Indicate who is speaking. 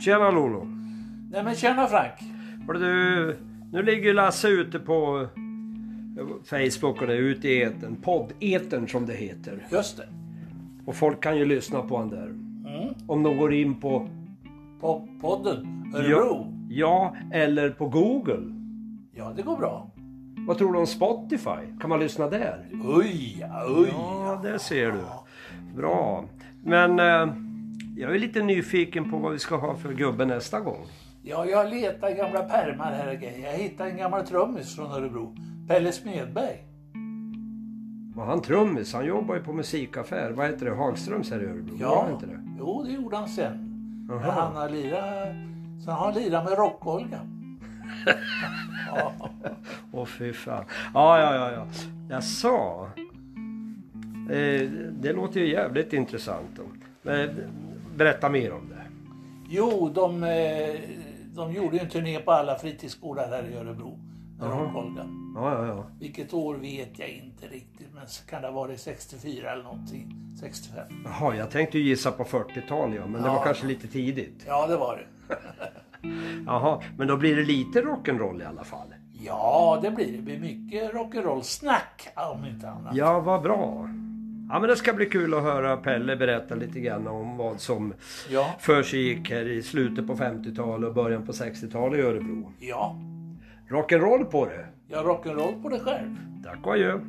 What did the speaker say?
Speaker 1: Tjena Lolo!
Speaker 2: Nej men tjena Frank!
Speaker 1: Hör du, nu ligger ju Lasse ute på eh, Facebook och det är ute i etern. Podd-etern som det heter.
Speaker 2: Just det.
Speaker 1: Och folk kan ju lyssna på han där.
Speaker 2: Mm.
Speaker 1: Om de går in på
Speaker 2: På podden Örebro.
Speaker 1: ja eller på Google.
Speaker 2: Ja. det går bra.
Speaker 1: Vad tror du om Spotify? Kan man lyssna där?
Speaker 2: Oj, oj.
Speaker 1: Ja, det ser du. Bra. Men eh, jag är lite nyfiken på vad vi ska ha för gubbe nästa gång.
Speaker 2: Ja, jag letar i gamla pärmar här och grejer. Jag hittade en gammal trummis från Örebro. Pelle Smedberg.
Speaker 1: Var han trummis? Han jobbar ju på musikaffär. Vad heter det? Hagströms här i Örebro? Var det inte det?
Speaker 2: Jo, det gjorde han sen. Men
Speaker 1: Jaha.
Speaker 2: han har lirat... Sen har han lirat med Rock-Olga. ja.
Speaker 1: Åh fy fan. Ja, ja, ja. ja. Jag sa. Eh, det låter ju jävligt intressant. Då. Men, berätta mer om det.
Speaker 2: Jo, de, eh, de gjorde ju en turné på alla fritidsgårdar här i Örebro. Med
Speaker 1: Jaha.
Speaker 2: Rock-Olga.
Speaker 1: Ja, ja, ja.
Speaker 2: Vilket år vet jag inte riktigt, men så kan det ha varit 64 eller någonting. 65.
Speaker 1: Jaha, jag tänkte ju gissa på 40-tal ja, men det
Speaker 2: Ja.
Speaker 1: var kanske lite tidigt.
Speaker 2: Ja, det var det.
Speaker 1: Jaha, men då blir det lite rock'n'roll i alla fall.
Speaker 2: Ja, det blir det. Det blir mycket rock'n'roll-snack om inte annat.
Speaker 1: Ja, vad bra. Ja, men det ska bli kul att höra Pelle berätta lite grann om vad som
Speaker 2: Ja.
Speaker 1: för sig gick här i slutet på 50-talet och början på 60-talet i Örebro.
Speaker 2: Ja,
Speaker 1: Rock'n'roll på det!
Speaker 2: jag har rock'n'roll på det själv.
Speaker 1: Tack och adjö!